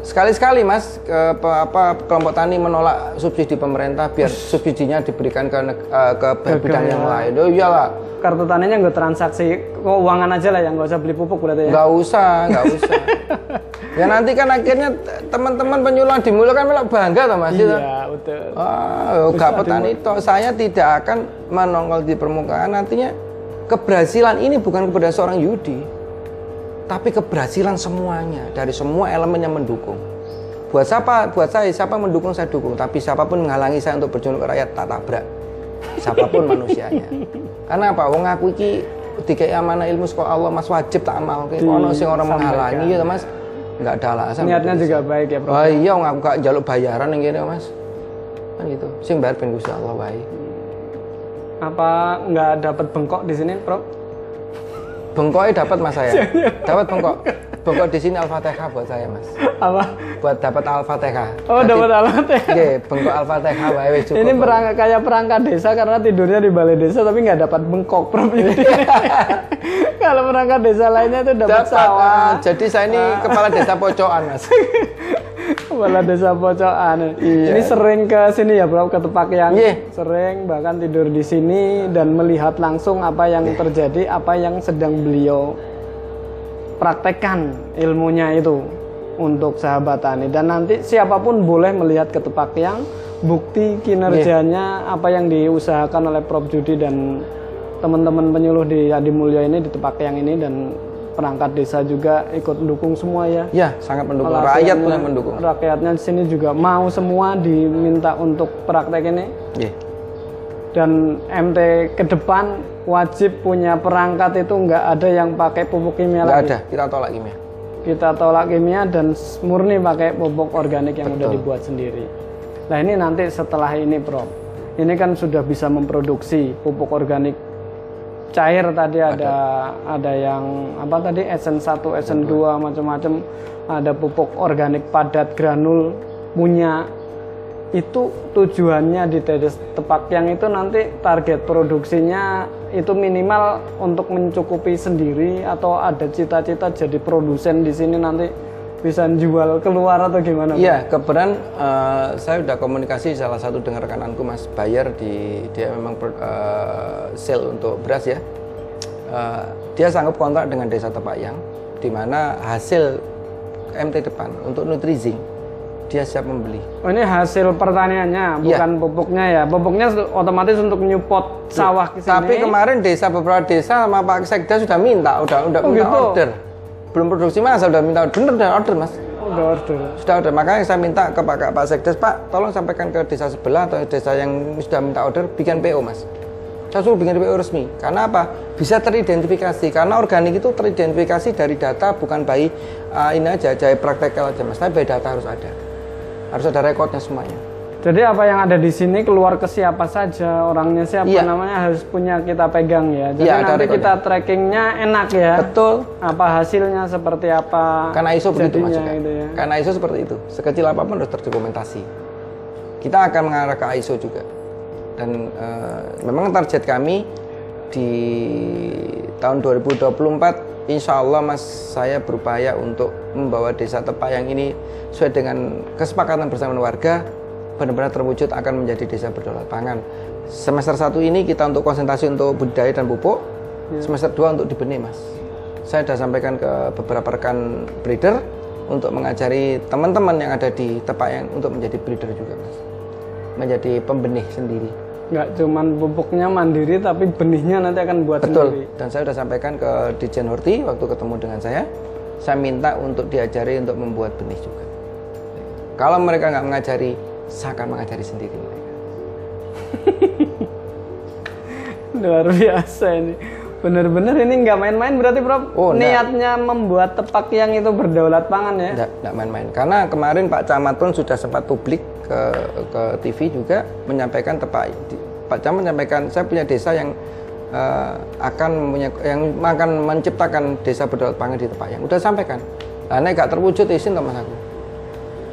S2: sekali-sekali, Mas, ke, pe- apa kelompok tani menolak subsidi pemerintah biar subsidinya diberikan ke neg- eh, ke bidang yang lain. Oh iyalah,
S1: Kartu taninya nggak transaksi keuangan aja lah, yang nggak usah beli pupuk berarti ya.
S2: nggak usah, nggak usah. ya nanti kan akhirnya t- teman-teman penyuluhan dimulai kan malah bangga toh, Mas. ya toh?
S1: Iya, betul.
S2: Oh, gak petani toh. Saya tidak akan menongol di permukaan. Nantinya keberhasilan ini bukan kepada seorang Yudi, tapi keberhasilan semuanya dari semua elemen yang mendukung. buat siapa buat saya siapa mendukung saya dukung tapi siapapun menghalangi saya untuk berjuang untuk rakyat tak tabrak siapapun manusianya karena apa wong aku iki dikai amanah ilmu sekolah Allah mas wajib tak amal kayak
S1: Di-
S2: ono sing orang menghalangi
S1: sampaikan.
S2: ya mas nggak ada alasan
S1: Niatnya juga baik ya, Prof.
S2: Wah iya wong aku gak jaluk bayaran yang gini mas kan gitu sing bayar ben Gusti Allah wae
S1: Apa nggak dapat bengkok di sini, Prof?
S2: bengkoknya dapat mas saya dapat bengkok bengkok di sini al-fatihah buat saya mas
S1: [LAUGHS] Apa?
S2: buat dapat al-fatihah
S1: Oh,
S2: Nanti-
S1: dapat alat ya.
S2: Iya, bengkok al-fatihah wae wis cukup
S1: Ini perangkat kayak perangkat desa karena tidurnya di balai desa tapi nggak dapat bengkok, [LAUGHS] Prof. Ini dia. Kalau perangkat desa lainnya tuh dapat
S2: dapat ah,
S1: sawah,
S2: jadi saya ini
S1: Ah.
S2: kepala desa pocokan
S1: [LAUGHS]
S2: mas
S1: kepala desa pocokan. Ini sering ke sini ya, Prof, ke tempat yang
S2: Iya.
S1: sering bahkan tidur di sini dan melihat langsung apa yang terjadi, apa yang sedang beliau praktekkan ilmunya itu untuk sahabat tani dan nanti siapapun boleh melihat ketepak yang bukti kinerjanya apa yang diusahakan oleh Prof Judi dan teman-teman penyuluh di Adi Mulyo ini di tepak yang ini dan perangkat desa juga ikut mendukung semua ya
S2: ya sangat mendukung rakyat pun yang mendukung
S1: rakyatnya di sini juga mau semua diminta untuk praktek ini
S2: Iya.
S1: dan MT ke depan wajib punya perangkat itu nggak ada yang pakai pupuk kimia
S2: nggak
S1: lagi
S2: ada kita tolak ya. kimia
S1: kita tolak kimia dan s- murni pakai pupuk organik yang udah dibuat sendiri. Nah ini nanti setelah ini Prof, ini kan sudah bisa memproduksi pupuk organik cair tadi ada ada, yang apa tadi SN1, SN2 macam-macam, ada pupuk organik padat granul punya itu tujuannya di tetes tepak yang itu nanti target produksinya itu minimal untuk mencukupi sendiri atau ada cita-cita jadi produsen di sini nanti bisa jual keluar atau gimana? Pak?
S2: iya kebetulan eh, saya udah komunikasi salah satu dengan rekananku mas Bayer di dia memang pro- eh, sale untuk beras ya Eh, dia sanggup kontrak dengan desa Tepayang di mana hasil MT depan untuk Nutrizing dia siap membeli
S1: Oh, ini hasil
S2: Iya.
S1: pertaniannya bukan pupuknya ya. Pupuknya su- otomatis untuk nyupot sawah ke sini.
S2: Iya. Tapi kemarin desa beberapa desa sama Pak Sekda sudah minta, udah udah minta
S1: gitu?
S2: order. Belum produksi mas, udah minta bener udah order mas.
S1: udah order.
S2: Sudah order, makanya saya minta ke Pak, Pak Sekdes, Pak tolong sampaikan ke desa sebelah atau desa yang sudah minta order, bikin PO mas. Saya suruh bikin PO resmi, karena apa? Bisa teridentifikasi, karena organik itu teridentifikasi dari data, bukan by uh, ini aja, jahit praktekal aja mas, tapi by data harus ada. Harus ada rekodnya semuanya.
S1: Jadi apa yang ada di sini keluar ke siapa saja, orangnya siapa
S2: Iya.
S1: namanya harus punya kita pegang ya. Jadi
S2: Iya, ada
S1: nanti
S2: rekodnya.
S1: kita trackingnya enak ya.
S2: Betul,
S1: Apa hasilnya seperti apa?
S2: Karena Kan ISO begitu
S1: jadinya
S2: mas Jaka.
S1: gitu ya.
S2: Karena ISO seperti itu. Sekecil apapun harus terdokumentasi. Kita akan mengarah ke ISO juga. Dan eh, memang target kami di tahun 2024, insya Allah mas saya berupaya untuk membawa desa Tepayang ini sesuai dengan kesepakatan bersama warga benar-benar terwujud akan menjadi desa berdaulat pangan. Semester satu ini kita untuk konsentrasi untuk budidaya dan pupuk.
S1: Ya.
S2: Semester 2 untuk dibenih mas saya sudah sampaikan ke beberapa rekan breeder untuk mengajari teman-teman yang ada di Tepayang untuk menjadi breeder juga mas menjadi pembenih sendiri
S1: Nggak cuman pupuknya mandiri tapi benihnya nanti akan buat sendiri.
S2: betul dan saya sudah sampaikan ke Dijen Horti waktu ketemu dengan saya saya minta untuk diajari untuk membuat benih juga kalau mereka nggak mengajari saya akan mengajari sendiri mereka
S1: Luar biasa ini. Bener-bener ini nggak main-main berarti Prof.
S2: Oh, nggak.
S1: Niatnya membuat tepak yang itu berdaulat pangan ya.
S2: Nggak nggak main-main. Karena kemarin Pak Camat pun sudah sempat publik ke ke TV juga menyampaikan tepat di- Pak Camat menyampaikan saya punya desa yang eh, akan punya yang akan menciptakan desa berdaulat pangan di tempat yang udah sampaikan. Anak gak terwujud izin teman aku.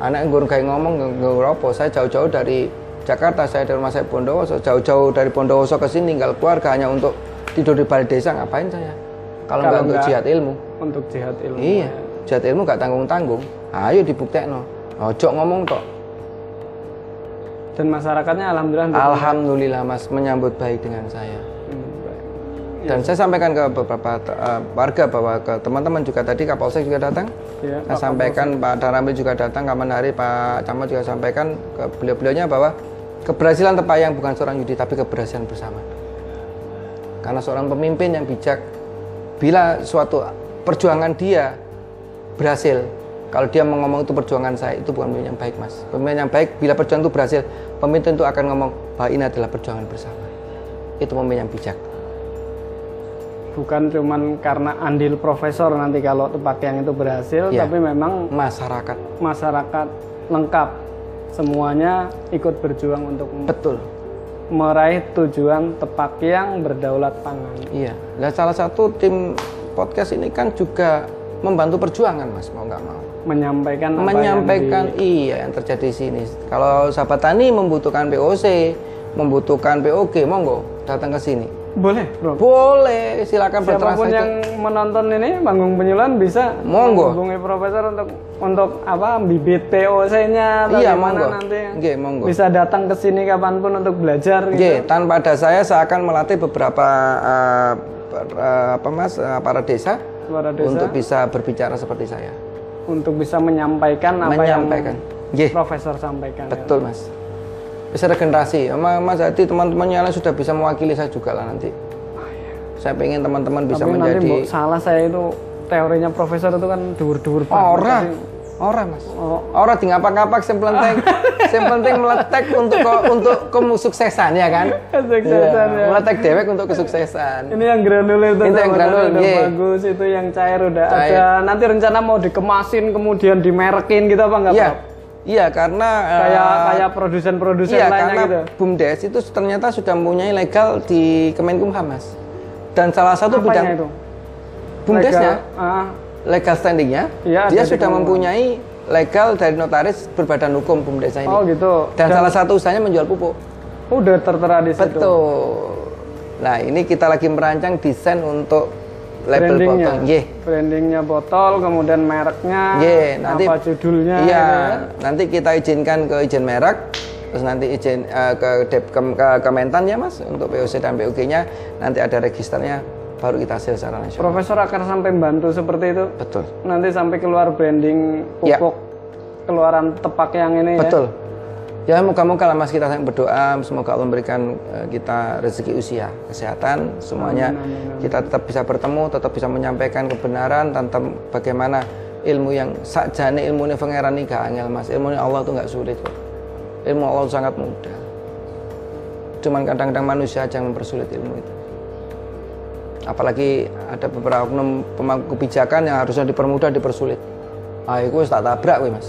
S2: Ah, Anak ngurung kayak ngomong ngurung apa? Saya jauh-jauh dari Jakarta, saya dari rumah saya Bondowoso, jauh-jauh dari Bondowoso ke sini tinggal keluarga hanya untuk tidur di balai desa ngapain saya? Kalau nggak untuk jihad ilmu.
S1: Untuk jihad ilmu.
S2: Iya, jat ilmu gak tanggung-tanggung. Ayo dibuktekno. Ojo ngomong tok.
S1: Dan masyarakatnya alhamdulillah.
S2: Ah. Alhamdulillah Mas menyambut baik dengan saya.
S1: Hmm, baik.
S2: Dan saya sampaikan ke beberapa eh, warga bahwa ke teman-teman juga tadi Kapolsek juga datang.
S1: Iya.
S2: Saya sampaikan Pak Daramil juga datang, Kaman Hari, Pak Camat juga sampaikan ke beliau-beliaunya bahwa keberhasilan Tepayang bukan seorang Yudi tapi keberhasilan bersama. Karena seorang pemimpin yang bijak, bila suatu perjuangan dia berhasil, Kalau dia mau ngomong itu perjuangan saya itu bukan pemimpin yang baik mas. Pemimpin yang baik bila perjuangan itu berhasil, pemimpin itu akan ngomong bahwa ini adalah perjuangan bersama. Itu pemimpin yang bijak.
S1: Bukan cuman karena andil profesor nanti kalau tempat yang itu berhasil,
S2: Iya.
S1: tapi memang
S2: Masyarakat
S1: masyarakat lengkap semuanya ikut berjuang untuk
S2: betul.
S1: meraih tujuan tepak yang berdaulat pangan.
S2: Iya. Dan salah satu tim podcast ini kan juga membantu perjuangan mas mau nggak mau.
S1: Menyampaikan apa
S2: menyampaikan iya yang terjadi di sini. Kalau sahabat tani membutuhkan POC, membutuhkan POG, monggo datang ke sini.
S1: yang di- Boleh, Bro.
S2: Boleh, silakan
S1: Siapapun
S2: bertransaksi.
S1: yang menonton ini Panggung Penyuluhan bisa
S2: Monggo.
S1: menghubungi profesor untuk untuk apa bibit POC-nya atau gimana
S2: Iya, monggo.
S1: nanti. ya.
S2: Nggih, monggo.
S1: Bisa datang ke sini kapanpun untuk belajar gitu.
S2: Nggih, tanpa ada saya saya akan melatih beberapa eh, per- eh, apa Mas eh, para desa,
S1: Para desa
S2: untuk
S1: untuk,
S2: bisa berbicara seperti saya.
S1: bisa menyampaikan apa
S2: menyampaikan.
S1: yang
S2: Nggih,
S1: profesor sampaikan. ya.
S2: betul Mas. Bisa regenerasi. Mas, mas Hadi teman-temannya lain sudah bisa mewakili saya juga lah nanti. Saya pengen teman-teman bisa
S1: Tapi nanti
S2: menjadi
S1: Mbok, salah saya itu teorinya profesor itu kan dur-dur banget.
S2: Ora, ora mas.
S1: Oh.
S2: Ora di ngapak-ngapak sing
S1: [LAUGHS]
S2: penting, sing penting meletek untuk ko, untuk kesuksesan ya kan.
S1: Kesuksesan,
S2: Iya, Meletek dewek untuk kesuksesan.
S1: Ini yang granul itu
S2: Itu yang
S1: teman-teman
S2: granul,
S1: udah
S2: iya.
S1: bagus, itu yang cair udah
S2: Cair.
S1: ada. Nanti rencana mau dikemasin kemudian dimerekin gitu apa enggak,
S2: Iya,
S1: Prof?
S2: iya karena eh,
S1: Kayak kayak produsen-produsen
S2: iya
S1: lainnya
S2: karena
S1: gitu.
S2: bumdes itu ternyata sudah mempunyai legal di Kemenkumham mas. Dan salah satu
S1: Apanya
S2: bidang
S1: itu?
S2: bumdesnya
S1: Legal- ah,
S2: legal standingnya,
S1: Iya,
S2: dia
S1: ada di
S2: sudah mempunyai legal dari notaris berbadan hukum bumdesnya ini.
S1: oh gitu.
S2: Dan salah satu usahanya menjual pupuk.
S1: Udah tertera di situ.
S2: Betul. Nah, ini kita lagi merancang desain untuk label
S1: Brandingnya.
S2: botol. iya. Nggih.
S1: Brandingnya botol, kemudian mereknya,
S2: Nggih, nanti
S1: apa judulnya
S2: Iya,
S1: gitu ya.
S2: nanti kita izinkan ke izin merek, terus nanti izin eh, ke Depkem ke Kementan ya, Mas, untuk POC dan POG-nya nanti ada registernya baru kita hasil secara nasional.
S1: Profesor akan sampai bantu seperti itu.
S2: Betul.
S1: Nanti sampai keluar branding
S2: Ya.
S1: pupuk keluaran tepak yang ini ya.
S2: Betul. Ya moga-moga lah mas kita sayang berdoa semoga Allah memberikan eh, kita rezeki usia kesehatan semuanya kita tetap bisa bertemu tetap bisa menyampaikan kebenaran tentang bagaimana ilmu yang sakjane ilmu ini pangeran ini gak angel mas ilmu ini Allah tuh nggak sulit kok ilmu Allah tuh sangat mudah cuman kadang-kadang manusia aja yang mempersulit ilmu itu apalagi ada beberapa oknum pemangku kebijakan yang harusnya dipermudah dipersulit ah itu wis tak tabrak weh mas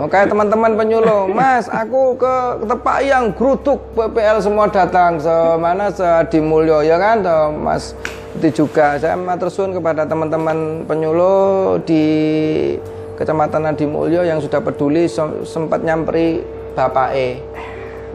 S2: Oke Oh, teman-teman penyuluh, Mas, aku ke tempat yang gerutuk PPL semua datang semana se di Mulyo ya kan, toh, Mas itu juga saya matur suwun kepada teman-teman penyuluh di Kecamatan Adi Mulyo yang sudah peduli se- sempat nyamperi Bapak E.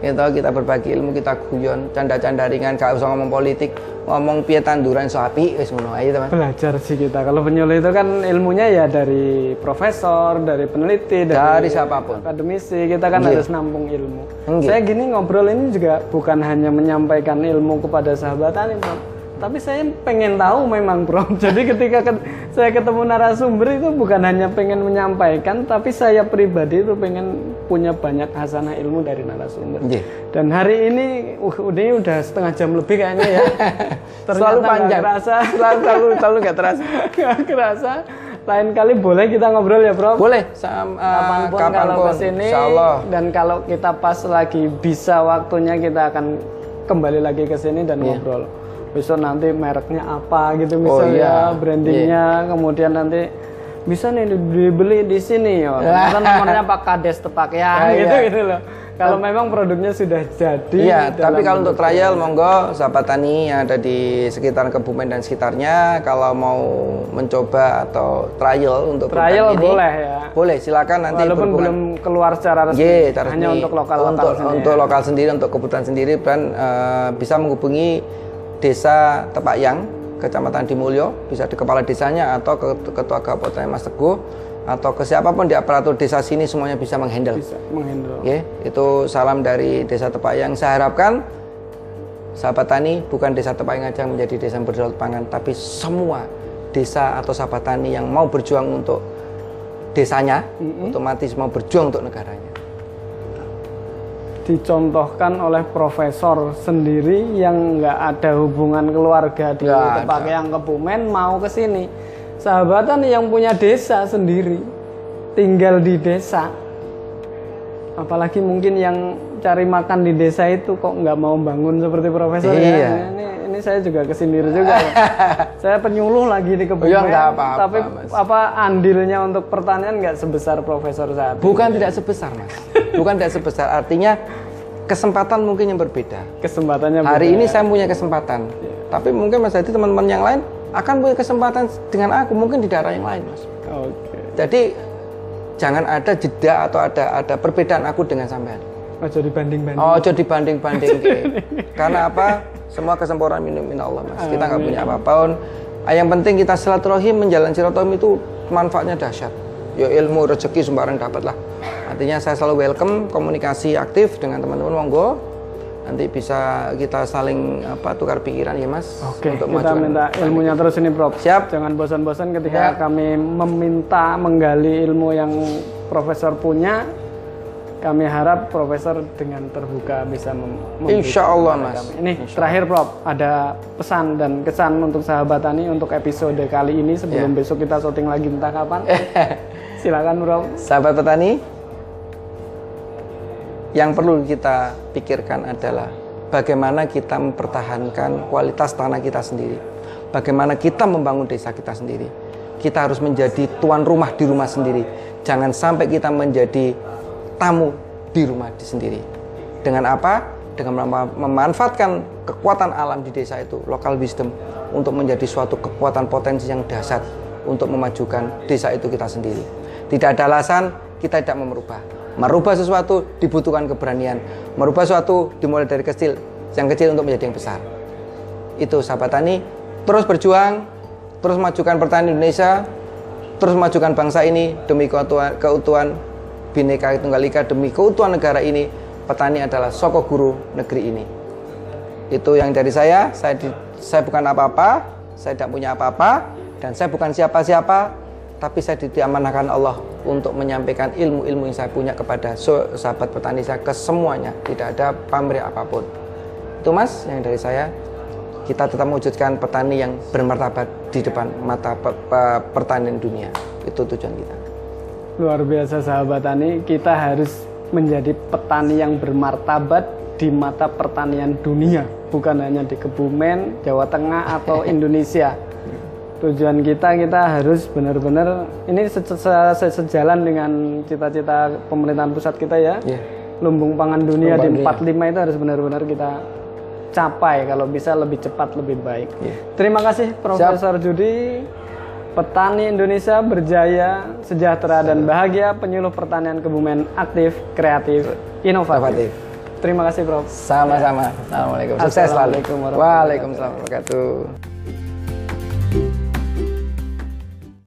S2: Gitu, kita berbagi ilmu, kita guyon, canda-canda ringan, gak usah ngomong politik, ngomong piye tanduran sapi, wis ngono gitu, aja teman.
S1: Belajar sih kita. Kalau penyuluh itu kan ilmunya ya dari profesor, dari peneliti, dari,
S2: Dari siapapun.
S1: akademisi. Kita
S2: Iya.
S1: kan harus nampung ilmu.
S2: Nggih.
S1: Saya gini ngobrol ini juga bukan hanya menyampaikan ilmu kepada sahabat tani, Bro. Tapi saya pengen tahu memang, Bro. [LAUGHS] Jadi ketika ket- saya ketemu narasumber itu bukan hanya pengen menyampaikan, tapi saya pribadi itu pengen punya banyak hasanah ilmu dari narasumber.
S2: Nggih.
S1: Dan hari ini, uh, ini udah setengah jam lebih kayaknya ya.
S2: [LAUGHS] Selalu
S1: nggak
S2: panjang.
S1: kerasa.
S2: Selalu selalu selalu gak terasa.
S1: Gak kerasa. Lain kali boleh kita ngobrol ya, Bro.
S2: Boleh, eh, sama
S1: Kapanpun, kalau kesini
S2: Insya Allah.
S1: dan kalau kita pas lagi bisa waktunya kita akan kembali lagi ke sini dan
S2: Iya.
S1: ngobrol. Besok nanti mereknya apa gitu misalnya,
S2: iya.
S1: brandingnya, kemudian nanti bisa nih dibeli di sini
S2: [LAUGHS]
S1: ya. Ternyata nomornya Pak Kades Tepak
S2: Ah,
S1: ya, gitu gitu loh. Kalau memang produknya sudah jadi,
S2: Iya,
S1: dalam-
S2: tapi kalau untuk trial monggo sahabat tani yang ada di sekitar Kebumen dan sekitarnya kalau mau mencoba atau trial untuk
S1: trial
S2: program ini,
S1: boleh ya.
S2: Boleh, silakan nanti
S1: Walaupun
S2: berhubungan.
S1: belum keluar secara resmi,
S2: Ye, terus
S1: hanya
S2: nih,
S1: untuk lokal
S2: untuk, untuk lokal sendiri, untuk kebutuhan sendiri dan eh, bisa menghubungi desa Tepak Yang, Kecamatan Dimulyo, bisa di kepala desanya atau ke ketua kabupaten Mas Teguh atau ke siapapun di aparatur desa sini semuanya bisa menghandle.
S1: bisa menghandle.
S2: Ya, itu salam dari Desa Tepayang. Saya harapkan sahabat tani bukan Desa Tepayang aja yang menjadi desa yang berdaulat pangan, tapi semua desa atau sahabat tani yang mau berjuang untuk desanya, otomatis mau berjuang untuk negaranya.
S1: dicontohkan oleh profesor sendiri yang nggak ada hubungan keluarga di
S2: Nggak
S1: tempat yang kebumen mau ke sini Sahabatan yang punya desa sendiri, tinggal di desa. Apalagi mungkin yang cari makan di desa itu kok nggak mau bangun seperti profesor
S2: Iya.
S1: ya. Ini, ini saya juga kesindir
S2: [LAUGHS]
S1: juga. ya. saya penyuluh lagi di kebumen.
S2: Ya, nggak apa-apa,
S1: tapi
S2: Mas.
S1: apa andilnya untuk pertanian nggak sebesar profesor saat
S2: Bukan tidak sebesar, Mas. Bukan tidak sebesar. Artinya kesempatan mungkin yang berbeda.
S1: kesempatannya
S2: Hari
S1: beda.
S2: ini saya punya kesempatan. Tapi mungkin Mas Hadi teman-teman yang lain akan punya kesempatan dengan aku mungkin di daerah yang lain, Mas.
S1: Oke.
S2: Jadi jangan ada jeda atau ada ada perbedaan aku dengan sampean.
S1: Ojo dibanding-banding.
S2: Oh, jadi banding-banding.
S1: [LAUGHS]
S2: Karena apa? Semua kesempurnaan minum min Allah, Mas. Kita nggak punya apa-apa. Ah, Yang penting kita silaturahim, menjalan silaturahim itu manfaatnya dahsyat. Yo ilmu rezeki sembarang dapat lah. Artinya saya selalu welcome komunikasi aktif dengan teman-teman monggo. Nanti bisa kita saling apa tukar pikiran ya, Mas.
S1: Oke,
S2: untuk
S1: kita
S2: memajukan.
S1: minta ilmunya terus ini, Prof.
S2: Siap.
S1: Jangan bosan-bosan ketika
S2: Ya.
S1: kami meminta menggali ilmu yang Profesor punya. Kami harap Profesor dengan terbuka bisa mem- memberi
S2: Insya Allah, Mas.
S1: kami. Ini terakhir, Prof. Ada pesan dan kesan untuk sahabat Tani untuk episode kali ini sebelum
S2: Ya.
S1: besok kita syuting lagi entah
S2: [LAUGHS]
S1: kapan. Silakan, Prof.
S2: Sahabat petani, yang perlu kita pikirkan adalah bagaimana kita mempertahankan kualitas tanah kita sendiri. Bagaimana kita membangun desa kita sendiri. Kita harus menjadi tuan rumah di rumah sendiri. Jangan sampai kita menjadi tamu di rumah di sendiri. Dengan apa? Dengan mema- memanfaatkan kekuatan alam di desa itu, local wisdom, untuk menjadi suatu kekuatan potensi yang dahsyat untuk memajukan desa itu kita sendiri. Tidak ada alasan kita tidak mau merubah. Merubah sesuatu dibutuhkan keberanian. Merubah sesuatu dimulai dari kecil, yang kecil untuk menjadi yang besar. Itu sahabat tani, terus berjuang, terus majukan pertanian Indonesia, terus majukan bangsa ini demi keutuhan, keutuhan Bhinneka Tunggal Ika, demi keutuhan negara ini. Petani adalah soko guru negeri ini itu yang dari saya saya di- saya bukan apa-apa saya tidak punya apa-apa dan saya bukan siapa-siapa tapi saya di- diamanahkan Allah untuk menyampaikan ilmu-ilmu yang saya punya kepada so- sahabat petani saya ke semuanya tidak ada pamrih apapun itu mas yang dari saya kita tetap mewujudkan petani yang bermartabat di depan mata pe- pe- pertanian dunia itu tujuan kita
S1: Luar biasa sahabat tani, kita harus menjadi petani yang bermartabat di mata pertanian dunia, bukan hanya di Kebumen, Jawa Tengah atau Indonesia. Tujuan kita kita harus benar-benar ini se- se- se- sejalan dengan cita-cita pemerintahan pusat kita ya.
S2: Iya.
S1: Lumbung pangan dunia di
S2: Lumbung
S1: 45 itu harus benar-benar kita capai kalau bisa lebih cepat lebih baik.
S2: Iya.
S1: Terima kasih Profesor Judi. Petani Indonesia berjaya, sejahtera dan bahagia. Penyuluh pertanian kebumen aktif, kreatif, inovatif.
S2: Inovatif.
S1: Terima kasih, Prof.
S2: sama-sama Iya. assalamualaikum sukses selalu
S1: Assalamualaikum warahmatullahi
S2: waalaikumsalam warahmatullahi wabarakatuh